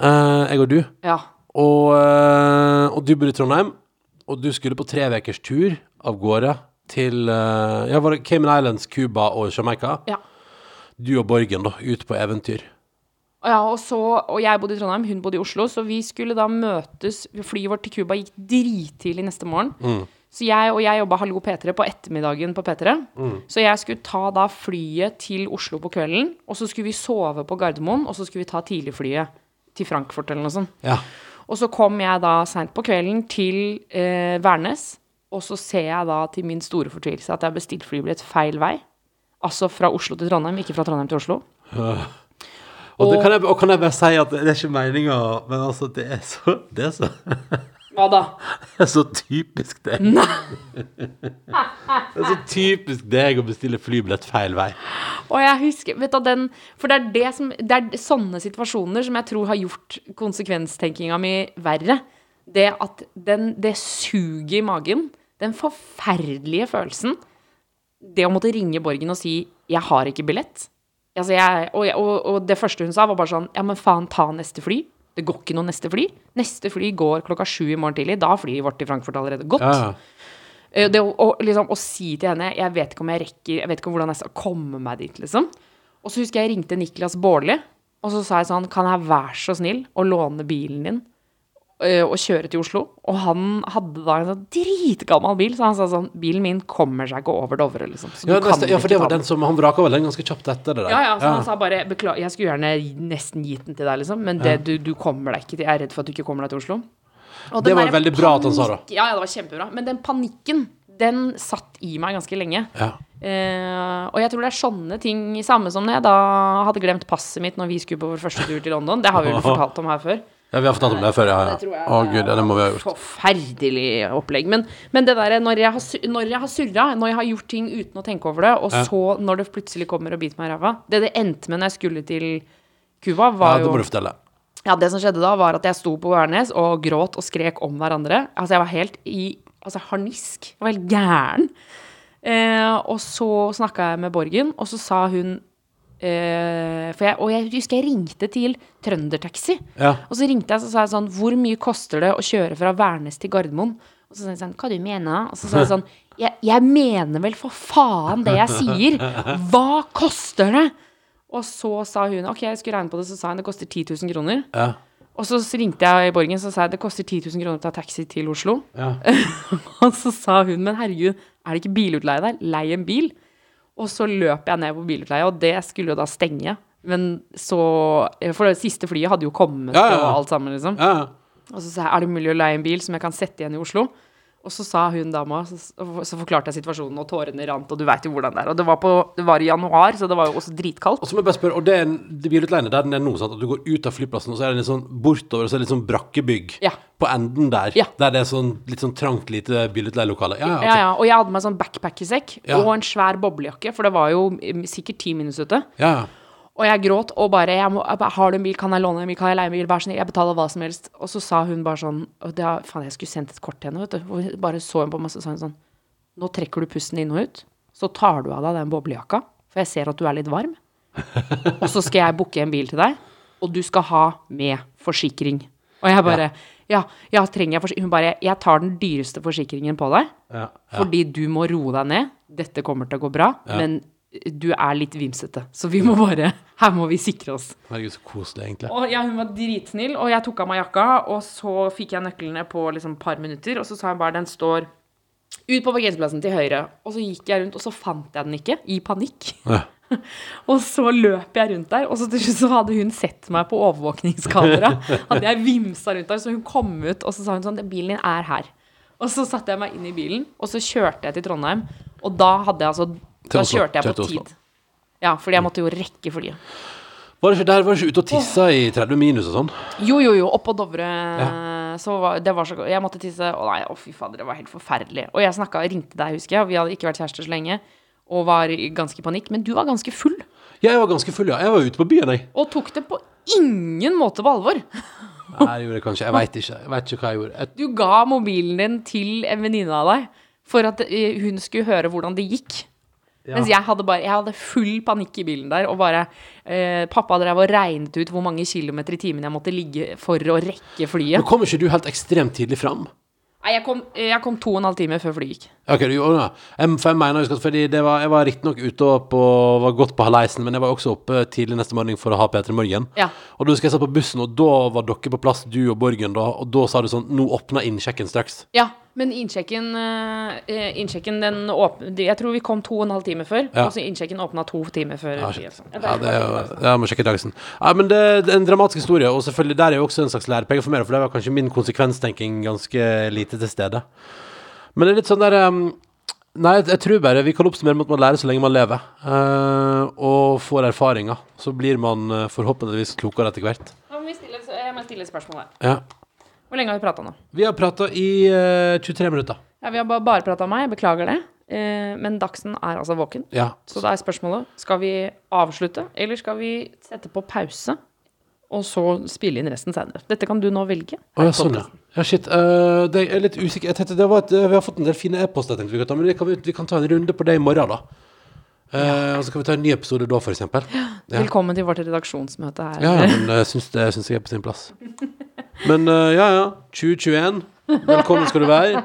[SPEAKER 3] eh, jeg og du.
[SPEAKER 4] Ja.
[SPEAKER 3] Og, eh, og du bor i Trondheim, og du skulle på tre ukers tur av gårde til eh, ja, var det Cayman Islands, Cuba og Jamaica.
[SPEAKER 4] Ja.
[SPEAKER 3] Du og Borgen, da, ut på eventyr.
[SPEAKER 4] Og ja, og så Og jeg bodde i Trondheim, hun bodde i Oslo, så vi skulle da møtes Flyet vårt til Cuba gikk drittidlig neste morgen. Så jeg og jeg jobba Hallo P3 på ettermiddagen på P3. Så jeg skulle ta da flyet til Oslo på kvelden, og så skulle vi sove på Gardermoen, og så skulle vi ta tidligflyet til Frankfurt eller noe sånt.
[SPEAKER 3] Ja.
[SPEAKER 4] Og så kom jeg da seint på kvelden til eh, Værnes, og så ser jeg da til min store fortvilelse at jeg har bestilt flybillett feil vei. Altså fra Oslo til Trondheim, ikke fra Trondheim til Oslo.
[SPEAKER 3] Og, det
[SPEAKER 4] Og-
[SPEAKER 3] kan jeg, og kan jeg bare si at det er ikke meninga, men altså, det er så, det er så,
[SPEAKER 4] Hva da?
[SPEAKER 3] det er så typisk deg. det er så typisk deg å bestille flybillett feil vei.
[SPEAKER 4] Og jeg husker, vet du, den, for det er, det, som, det er sånne situasjoner som jeg tror har gjort konsekvenstenkinga mi verre. Det at den, det suget i magen, den forferdelige følelsen, det å måtte ringe Borgen og si 'jeg har ikke billett'. Altså jeg, og, jeg, og, og det første hun sa, var bare sånn 'ja, men faen, ta neste fly'. Det går ikke noe neste fly. Neste fly går klokka sju i morgen tidlig. Da har flyet vårt til Frankfurt allerede gått.
[SPEAKER 3] Ja, ja.
[SPEAKER 4] Eh, Det å, å, liksom, å si til henne Jeg vet ikke om jeg rekker, jeg vet ikke hvordan jeg skal komme meg dit, liksom. Og så husker jeg jeg ringte Niklas Baarli, og så sa jeg sånn Kan jeg være så snill å låne bilen din? eh, og kjøre til Oslo. Og han hadde da en sånn dritgammel bil, så han sa sånn Bilen min kommer seg ikke over Dovre, liksom. Så
[SPEAKER 3] Ja,
[SPEAKER 4] du kan
[SPEAKER 3] neste, ja, for
[SPEAKER 4] ikke
[SPEAKER 3] det
[SPEAKER 4] ta
[SPEAKER 3] var den som Han vraka vel den ganske kjapt etter det der.
[SPEAKER 4] Ja, ja, så han sa bare Beklager, jeg skulle gjerne nesten gitt den til deg, liksom, men det, du, du kommer deg ikke til Jeg er redd for at du ikke kommer deg til Oslo.
[SPEAKER 3] Det
[SPEAKER 4] Og den
[SPEAKER 3] var
[SPEAKER 4] der
[SPEAKER 3] veldig bra at han sa det.
[SPEAKER 4] panikk- Ja, ja, det var kjempebra. Men den panikken, den satt i meg ganske lenge.
[SPEAKER 3] Ja.
[SPEAKER 4] Eh, og jeg tror det er sånne ting, samme som når jeg da hadde glemt passet mitt når vi skulle på vår første tur til London. Det har vi vel fortalt om her før.
[SPEAKER 3] Ja, vi har fortalt om det før, ja. ja.
[SPEAKER 4] Det tror jeg
[SPEAKER 3] Å gud, ja, det må vi ha gjort.
[SPEAKER 4] Forferdelig opplegg. Men, men det derre når jeg har su- når jeg har surra, når jeg har gjort ting uten å tenke over det, og så når det plutselig kommer og biter meg i ræva Det det endte med når jeg skulle til Cuba,
[SPEAKER 3] Ja,
[SPEAKER 4] var
[SPEAKER 3] det
[SPEAKER 4] jo
[SPEAKER 3] må du fortelle.
[SPEAKER 4] ja, det som skjedde da, var at jeg sto på Værnes og gråt og skrek om hverandre. Altså, jeg var helt i altså, harnisk. Jeg var helt gæren. Eh, og så snakka jeg med Borgen, og så sa hun eh, for jeg, Og jeg husker jeg ringte til Trøndertaxi.
[SPEAKER 3] Ja.
[SPEAKER 4] Og så ringte jeg så sa jeg sånn Hvor mye koster det å kjøre fra Værnes til Gardermoen? Og så sa jeg sånn Hva du mener? Og så sa jeg sånn jeg, jeg mener vel for faen det jeg sier! Hva koster det? Og så sa hun Ok, jeg skulle regne på det, så sa hun det koster 10 000 kroner.
[SPEAKER 3] Ja.
[SPEAKER 4] Og så ringte jeg i Borgen og sa jeg, det koster 10 000 kroner å ta taxi til Oslo.
[SPEAKER 3] Ja.
[SPEAKER 4] og så sa hun men herregud, er det ikke bilutleie der? Lei en bil. Og så løp jeg ned på bilutleie, og det skulle jo da stenge. Men så For det siste flyet hadde jo kommet
[SPEAKER 3] Ja, ja, ja.
[SPEAKER 4] og alt sammen, liksom.
[SPEAKER 3] ja.
[SPEAKER 4] Og så sa jeg, er det mulig å leie en bil som jeg kan sette igjen i Oslo? Og så sa hun dama, så, så forklarte jeg situasjonen, og tårene rant, og du veit jo hvordan det er. Og det var, på, det var i januar, så det var jo også dritkaldt.
[SPEAKER 3] Og så må jeg bare spørre, og det er en det bilutleiene der den er nå, sant? At du går ut av flyplassen, og så er det litt sånn bortover, og så er det litt sånn brakkebygg
[SPEAKER 4] Ja.
[SPEAKER 3] på enden der.
[SPEAKER 4] Ja.
[SPEAKER 3] Der det er sånn litt sånn trangt lite bilutleielokale. Ja, ja.
[SPEAKER 4] Ja,
[SPEAKER 3] ok.
[SPEAKER 4] ja, og jeg hadde meg sånn backpackersekk
[SPEAKER 3] Ja.
[SPEAKER 4] og en svær boblejakke, for det var jo mm, sikkert ti minus ute.
[SPEAKER 3] ja.
[SPEAKER 4] Og jeg gråt og bare jeg må, jeg bare, 'Har du en bil? Kan jeg låne en bil? Kan jeg leie en bil? Vær så snill, jeg betaler hva som helst.' Og så sa hun bare sånn og det, er- Faen, jeg skulle sendt et kort til henne, vet du. Og hun bare så hun på meg, så sa hun sånn 'Nå trekker du pusten inn og ut, så tar du av deg den boblejakka, for jeg ser at du er litt varm.' 'Og så skal jeg booke en bil til deg, og du skal ha med forsikring.' Og jeg bare ja, ja, trenger jeg forsikring? Hun bare 'Jeg tar den dyreste forsikringen på deg.'
[SPEAKER 3] ja.
[SPEAKER 4] Fordi du må roe deg ned. Dette kommer til å gå bra. Men du er litt vimsete, så vi må bare Her må vi sikre oss.
[SPEAKER 3] Herregud, så koselig, egentlig.
[SPEAKER 4] Og ja, hun var dritsnill, og jeg tok av meg jakka, og så fikk jeg nøklene på liksom et par minutter, og så sa hun bare den står ut på parkeringsplassen til høyre. Og så gikk jeg rundt, og så fant jeg den ikke, i panikk.
[SPEAKER 3] Ja.
[SPEAKER 4] og så løp jeg rundt der, og så til slutt så hadde hun sett meg på overvåkningskamera. Hadde jeg vimsa rundt der, så hun kom ut, og så sa hun sånn Bilen din er her. Og så satte jeg meg inn i bilen, og så kjørte jeg til Trondheim, og da hadde jeg altså Da
[SPEAKER 3] Oslo.
[SPEAKER 4] kjørte jeg
[SPEAKER 3] Kjørte
[SPEAKER 4] på
[SPEAKER 3] til Oslo.
[SPEAKER 4] tid. Ja, fordi jeg måtte jo rekke flyet.
[SPEAKER 3] Var det ikke der, var det ikke ute og tissa i 30 minus og sånn?
[SPEAKER 4] Jo, jo, jo. Oppå Dovre. Så var, det var så godt. Jeg måtte tisse. Å nei, å fy fader, det var helt forferdelig. Og jeg snakket, ringte deg, husker jeg. og Vi hadde ikke vært kjærester så lenge. Og var i ganske panikk. Men du var ganske full.
[SPEAKER 3] Ja, jeg var ganske full, ja. Jeg var ute på byen, jeg.
[SPEAKER 4] Og tok det på ingen måte på alvor.
[SPEAKER 3] Nei, jeg gjorde det kanskje. Jeg veit ikke. Jeg vet ikke hva jeg gjorde. Jeg,
[SPEAKER 4] Du ga mobilen din til en venninne av deg for at eh, hun skulle høre hvordan det gikk. Mens jeg hadde, bare, jeg hadde full panikk i bilen der, og bare eh, Pappa drev og regnet ut hvor mange kilometer i timen jeg måtte ligge for å rekke
[SPEAKER 3] Men
[SPEAKER 4] flyet.
[SPEAKER 3] kom ikke du helt ekstremt tidlig fram?
[SPEAKER 4] Nei, jeg kom, eh, jeg kom to og en halv time før flyet gikk.
[SPEAKER 3] Ok, du gjorde det. Jeg, for jeg mener, husk at fordi det var, jeg var riktignok ute og på, var godt på haleisen, men jeg var også oppe tidlig neste morgen for å ha P3 Morgen.
[SPEAKER 4] Ja.
[SPEAKER 3] Og da husker jeg satt på bussen, og da var dere på plass, du og Borgen, da, og da sa du sånn Nå åpna innsjekken straks.
[SPEAKER 4] Ja, men innsjekken, eh, eh, innsjekken den åpne, Jeg tror vi kom to og en halv time før.
[SPEAKER 3] Ja.
[SPEAKER 4] Og så innsjekken åpna to timer før.
[SPEAKER 3] Ja,
[SPEAKER 4] flyet,
[SPEAKER 3] shit.
[SPEAKER 4] altså.
[SPEAKER 3] Ja, det er jo, jeg må sjekke dagsen. Ja, men det er en dramatisk historie, og selvfølgelig der er jo også en slags lærepenge for meg, for der var kanskje min konsekvenstenking ganske lite til stede. Men det er litt sånn der ehm, Nei, jeg tror bare vi kan oppsummere med at man lærer så lenge man lever, eh, og får erfaringer. Så blir man eh, forhåpentligvis klokere etter hvert.
[SPEAKER 4] Da må vi stille, et- jeg må stille et spørsmål her.
[SPEAKER 3] Ja.
[SPEAKER 4] Hvor lenge har vi prata nå?
[SPEAKER 3] Vi har prata i eh, 23 minutter.
[SPEAKER 4] Ja, vi har bare, bare prata om meg, jeg beklager det. Eh, men Dagsen er altså våken.
[SPEAKER 3] Ja.
[SPEAKER 4] Så da er spørsmålet skal vi avslutte, eller skal vi sette på pause? Og så spille inn resten senere. Dette kan du nå velge.
[SPEAKER 3] Å, ja, sånn, ja. Ja, shit. eh, det jeg er litt usikker. Jeg tenkte, det var et, eh, vi har fått en del fine e-poster, jeg tenkte vi kan ta, men vi kan, vi kan ta en runde på det i morgen, da. Eh, Og så kan vi ta en ny episode da, for eksempel. Ja,
[SPEAKER 4] Velkommen til vårt redaksjonsmøte her.
[SPEAKER 3] ja, ja men eh, syns, det syns jeg er på sin plass. Men eh, ja, ja. 2021. Velkommen skal du være.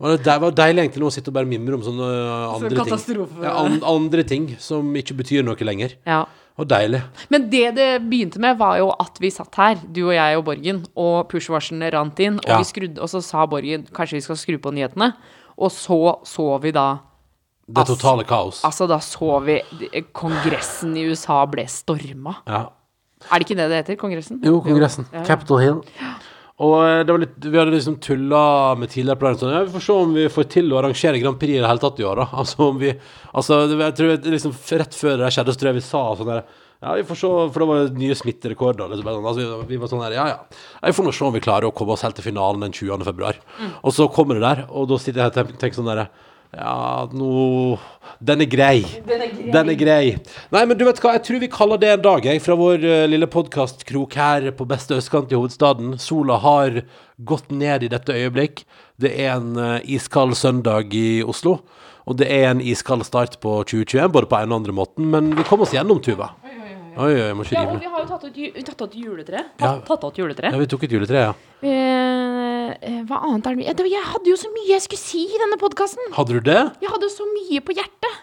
[SPEAKER 3] Og det der var deilig egentlig nå å sitte og bare mimre om sånne eh,
[SPEAKER 4] Sånn
[SPEAKER 3] andre ting.
[SPEAKER 4] katastrofe.
[SPEAKER 3] Ja, an, andre ting som ikke betyr noe lenger.
[SPEAKER 4] Ja.
[SPEAKER 3] Og deilig.
[SPEAKER 4] Men det det begynte med, var jo at vi satt her, du og jeg og Borgen, og push-varslene rant inn, og,
[SPEAKER 3] Ja.
[SPEAKER 4] vi skrudde, og så sa Borgen kanskje vi skal skru på nyhetene. Og så så vi da
[SPEAKER 3] Det totale kaos.
[SPEAKER 4] Altså, da så vi eh, Kongressen i USA ble storma.
[SPEAKER 3] Ja.
[SPEAKER 4] Er det ikke det det heter? Kongressen?
[SPEAKER 3] Jo, Kongressen.
[SPEAKER 4] Ja, ja.
[SPEAKER 3] Capitol Hill. Og eh, det var litt, vi hadde liksom tulla med tidligere planer sånn, ja, Vi får se om vi får til å arrangere Grand Prix i det hele tatt i år, da. Altså om vi Altså, det, jeg tror det liksom f- rett før det skjedde, så tror jeg vi sa sånn der Ja, vi får se, for da var det nye smitterekorder. Liksom, bare sånn. altså, vi, vi var sånn der Ja, ja. Nei, Vi får nå se om vi klarer å komme oss helt til finalen den 20. februar.
[SPEAKER 4] Mm.
[SPEAKER 3] Og så kommer det der, og da sitter jeg her og tenker- tenker sånn derre ja, nå Den er grei. Den er grei. Nei, men du vet hva, jeg tror vi kaller det en dag, jeg, fra vår eh, lille podkastkrok her på beste østkant i hovedstaden. Sola har gått ned i dette øyeblikk. Det er en eh, iskald søndag i Oslo. Og det er en iskald start på 2021, både på en og andre måten, men vi kom oss gjennom, Tuva. Oi, oi, oi, jeg må ikke rive ned.
[SPEAKER 4] har jo tatt ut, ju- tatt ut juletre.
[SPEAKER 3] Ja.
[SPEAKER 4] ut juletre.
[SPEAKER 3] Ja, vi tok et juletre, ja.
[SPEAKER 4] Eh, eh, hva annet er det mye Det var- Jeg hadde jo så mye jeg skulle si i denne podkasten!
[SPEAKER 3] Hadde du det?
[SPEAKER 4] Jeg hadde så mye på hjertet.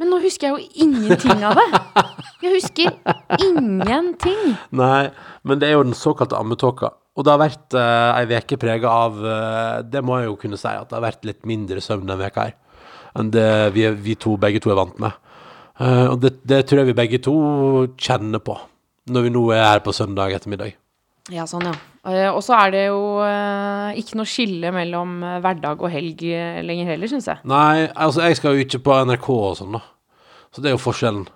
[SPEAKER 4] Men nå husker jeg jo ingenting av det. Jeg husker ingenting.
[SPEAKER 3] Nei, men det er jo den såkalte ammetåka. Og det har vært eh, ei veke prega av eh, Det må jeg jo kunne si, at det har vært litt mindre søvn denne veka her enn det vi, vi to, begge to er vant med. Eh, og det, det tror jeg vi begge to kjenner på når vi nå er her på søndag ettermiddag.
[SPEAKER 4] Ja, sånn, ja. Eh, Og så er det jo eh, ikke noe skille mellom eh, hverdag og helg eh, lenger heller, syns jeg.
[SPEAKER 3] Nei, altså, jeg skal jo ikke på NRK og sånn, da. Så det er jo forskjellen.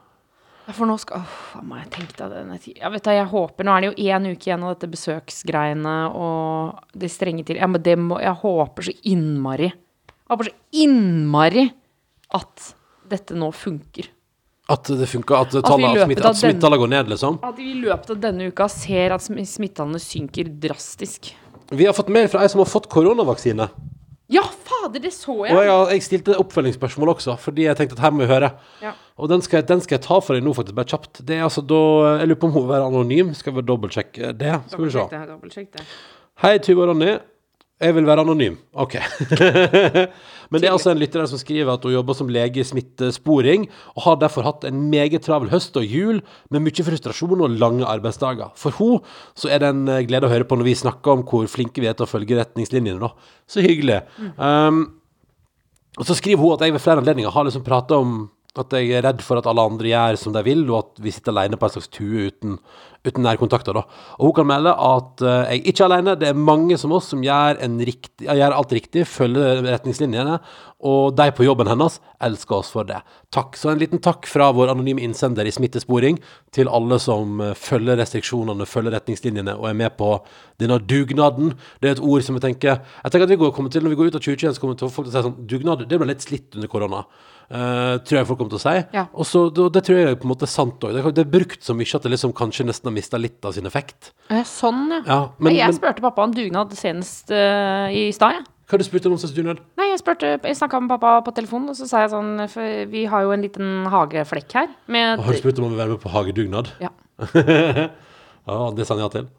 [SPEAKER 4] Ja, For nå skal Åh, faen meg, tenk deg denne tida. Ja, vet du, jeg håper Nå er det jo én uke igjen av dette besøksgreiene og det strenge til. Ja, men det må Jeg håper så innmari Jeg håper så innmari at dette nå funker.
[SPEAKER 3] At det funker, at,
[SPEAKER 4] vi
[SPEAKER 3] tallet- at,
[SPEAKER 4] løpet
[SPEAKER 3] smitt,
[SPEAKER 4] av
[SPEAKER 3] at
[SPEAKER 4] den-
[SPEAKER 3] smittetallene går ned, liksom.
[SPEAKER 4] At vi i løpet av denne uka ser at sm- smittetallene synker drastisk.
[SPEAKER 3] Vi har fått mail fra ei som har fått koronavaksine.
[SPEAKER 4] Ja, fader, det så
[SPEAKER 3] Og
[SPEAKER 4] jeg!
[SPEAKER 3] jeg, har- jeg stilte oppfølgingsspørsmål også, fordi jeg tenkte at her må vi høre.
[SPEAKER 4] Ja.
[SPEAKER 3] Og den skal, jeg- den skal jeg ta for deg nå, faktisk, bare kjapt. Det er altså da Jeg lurer på om hun vil være anonym. Skal vi dobbeltsjekke det? Skal vi se.
[SPEAKER 4] Dobbeltsjekk det, dobbeltsjekk det.
[SPEAKER 3] Hei, Tuva og Ronny. Jeg vil være anonym. OK. Men det er altså en lytter der som skriver at hun jobber som lege i smittesporing, og har derfor hatt en meget travel høst og jul med mye frustrasjon og lange arbeidsdager. For hun så er det en eh, glede å høre på når vi snakker om hvor flinke vi er til å følge retningslinjene, da. Så hyggelig.
[SPEAKER 4] Mm.
[SPEAKER 3] Um, og så skriver hun at jeg ved flere anledninger har liksom prata om at jeg er redd for at alle andre gjør som de vil, og at vi sitter alene på en slags tue uten, uten nærkontakter. da. Og hun kan melde at eh, jeg ikke er alene, det er mange som oss som gjør, en riktig, ja, gjør alt riktig, følger retningslinjene, og de på jobben hennes elsker oss for det. Takk. Så en liten takk fra vår anonyme innsender i Smittesporing til alle som eh, følger restriksjonene, følger retningslinjene og er med på denne dugnaden. Det er et ord som jeg tenker Jeg tenker at vi går, kommer til, Når vi går ut av 2021, så kommer til å- folk til å si sånn Dugnad, det ble litt slitt under korona. Eh, tror jeg folk kommer til å si.
[SPEAKER 4] Ja.
[SPEAKER 3] Og så, det, det tror jeg på en måte er sant òg. Det, er- det er brukt så mye at det liksom kanskje nesten har mista litt av sin effekt.
[SPEAKER 4] Eh, Sånn, ja.
[SPEAKER 3] Ja, men-
[SPEAKER 4] Nei, jeg
[SPEAKER 3] men-
[SPEAKER 4] spurte pappa om dugnad senest eh, i stad, jeg.
[SPEAKER 3] Hva har du spurt om slags dugnad?
[SPEAKER 4] Nei, jeg, spurte, jeg snakka med pappa på telefonen, og så sa jeg sånn For vi har jo en liten hageflekk her. Med
[SPEAKER 3] Har du spurt om å være med på hagedugnad?
[SPEAKER 4] Ja.
[SPEAKER 3] Ja, det sa han ja til.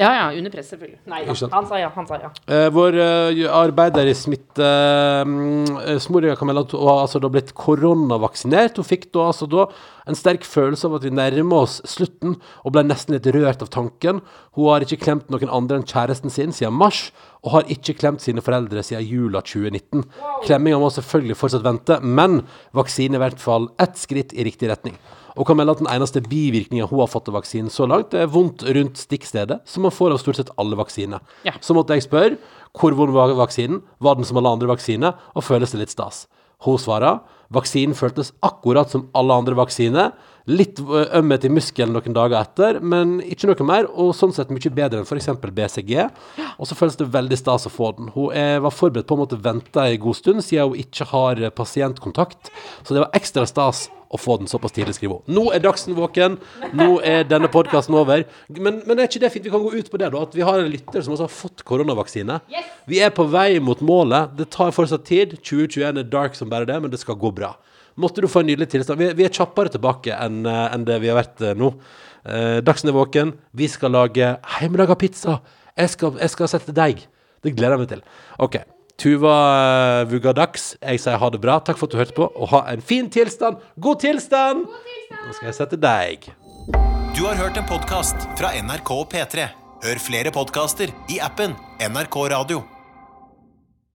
[SPEAKER 4] ja, ja, under press, selvfølgelig. Nei da.
[SPEAKER 3] Ikke sant.
[SPEAKER 4] Han sa ja, han sa ja.
[SPEAKER 3] Eh, vår eh, arbeider i mm, eh, smittesmoringa kan melde at hun har altså da blitt koronavaksinert. Hun fikk da, altså da en sterk følelse av at vi nærmer oss slutten, og ble nesten litt rørt av tanken. Hun har ikke klemt noen andre enn kjæresten sin siden mars, og har ikke klemt sine foreldre siden jula 2019. Klemminga må selvfølgelig fortsatt vente, men vaksine er i hvert fall ett skritt i riktig retning. Og kan melde at den eneste bivirkninga hun har fått av vaksinen så langt, det er vondt rundt stikkstedet, som man får av stort sett alle vaksiner.
[SPEAKER 4] Ja.
[SPEAKER 3] Så måtte jeg spørre hvor vond var vaksinen, var den som alle andre vaksiner, og føles det litt stas? Hun svarer vaksinen føltes akkurat som alle andre vaksiner. Litt ø, ømhet i muskelen noen dager etter, men ikke noe mer, og sånn sett mye bedre enn f.eks. BCG. Og så føles det veldig stas å få den. Hun eh, var forberedt på å måtte vente en god stund, siden hun ikke har eh, pasientkontakt, så det var ekstra stas å få den såpass tidlig, skriver hun. Nå er Dagsen våken, nå er denne podkasten over. Men, men er ikke det fint? Vi kan gå ut på det, da. At vi har en lytter som også har fått koronavaksine. Vi er på vei mot målet. Det tar fortsatt tid. 2021 er dark som bare det, men det skal gå bra. Måtte du få en nydelig tilstand. Vi, vi er kjappere tilbake enn eh, enn det vi har vært eh, nå. Eh, Dagsen er våken. Vi skal lage hjemmelaga pizza. Jeg skal, jeg skal sette deig. Det gleder jeg meg til. OK. Tuva eh, Vugadax, jeg sier ha det bra. Takk for at du hørte på, og ha en fin tilstand. God tilstand! God tilstand! Nå skal jeg sette deg.
[SPEAKER 1] Du har hørt en podcast fra NRK P3. Hør flere podcaster i appen NRK Radio.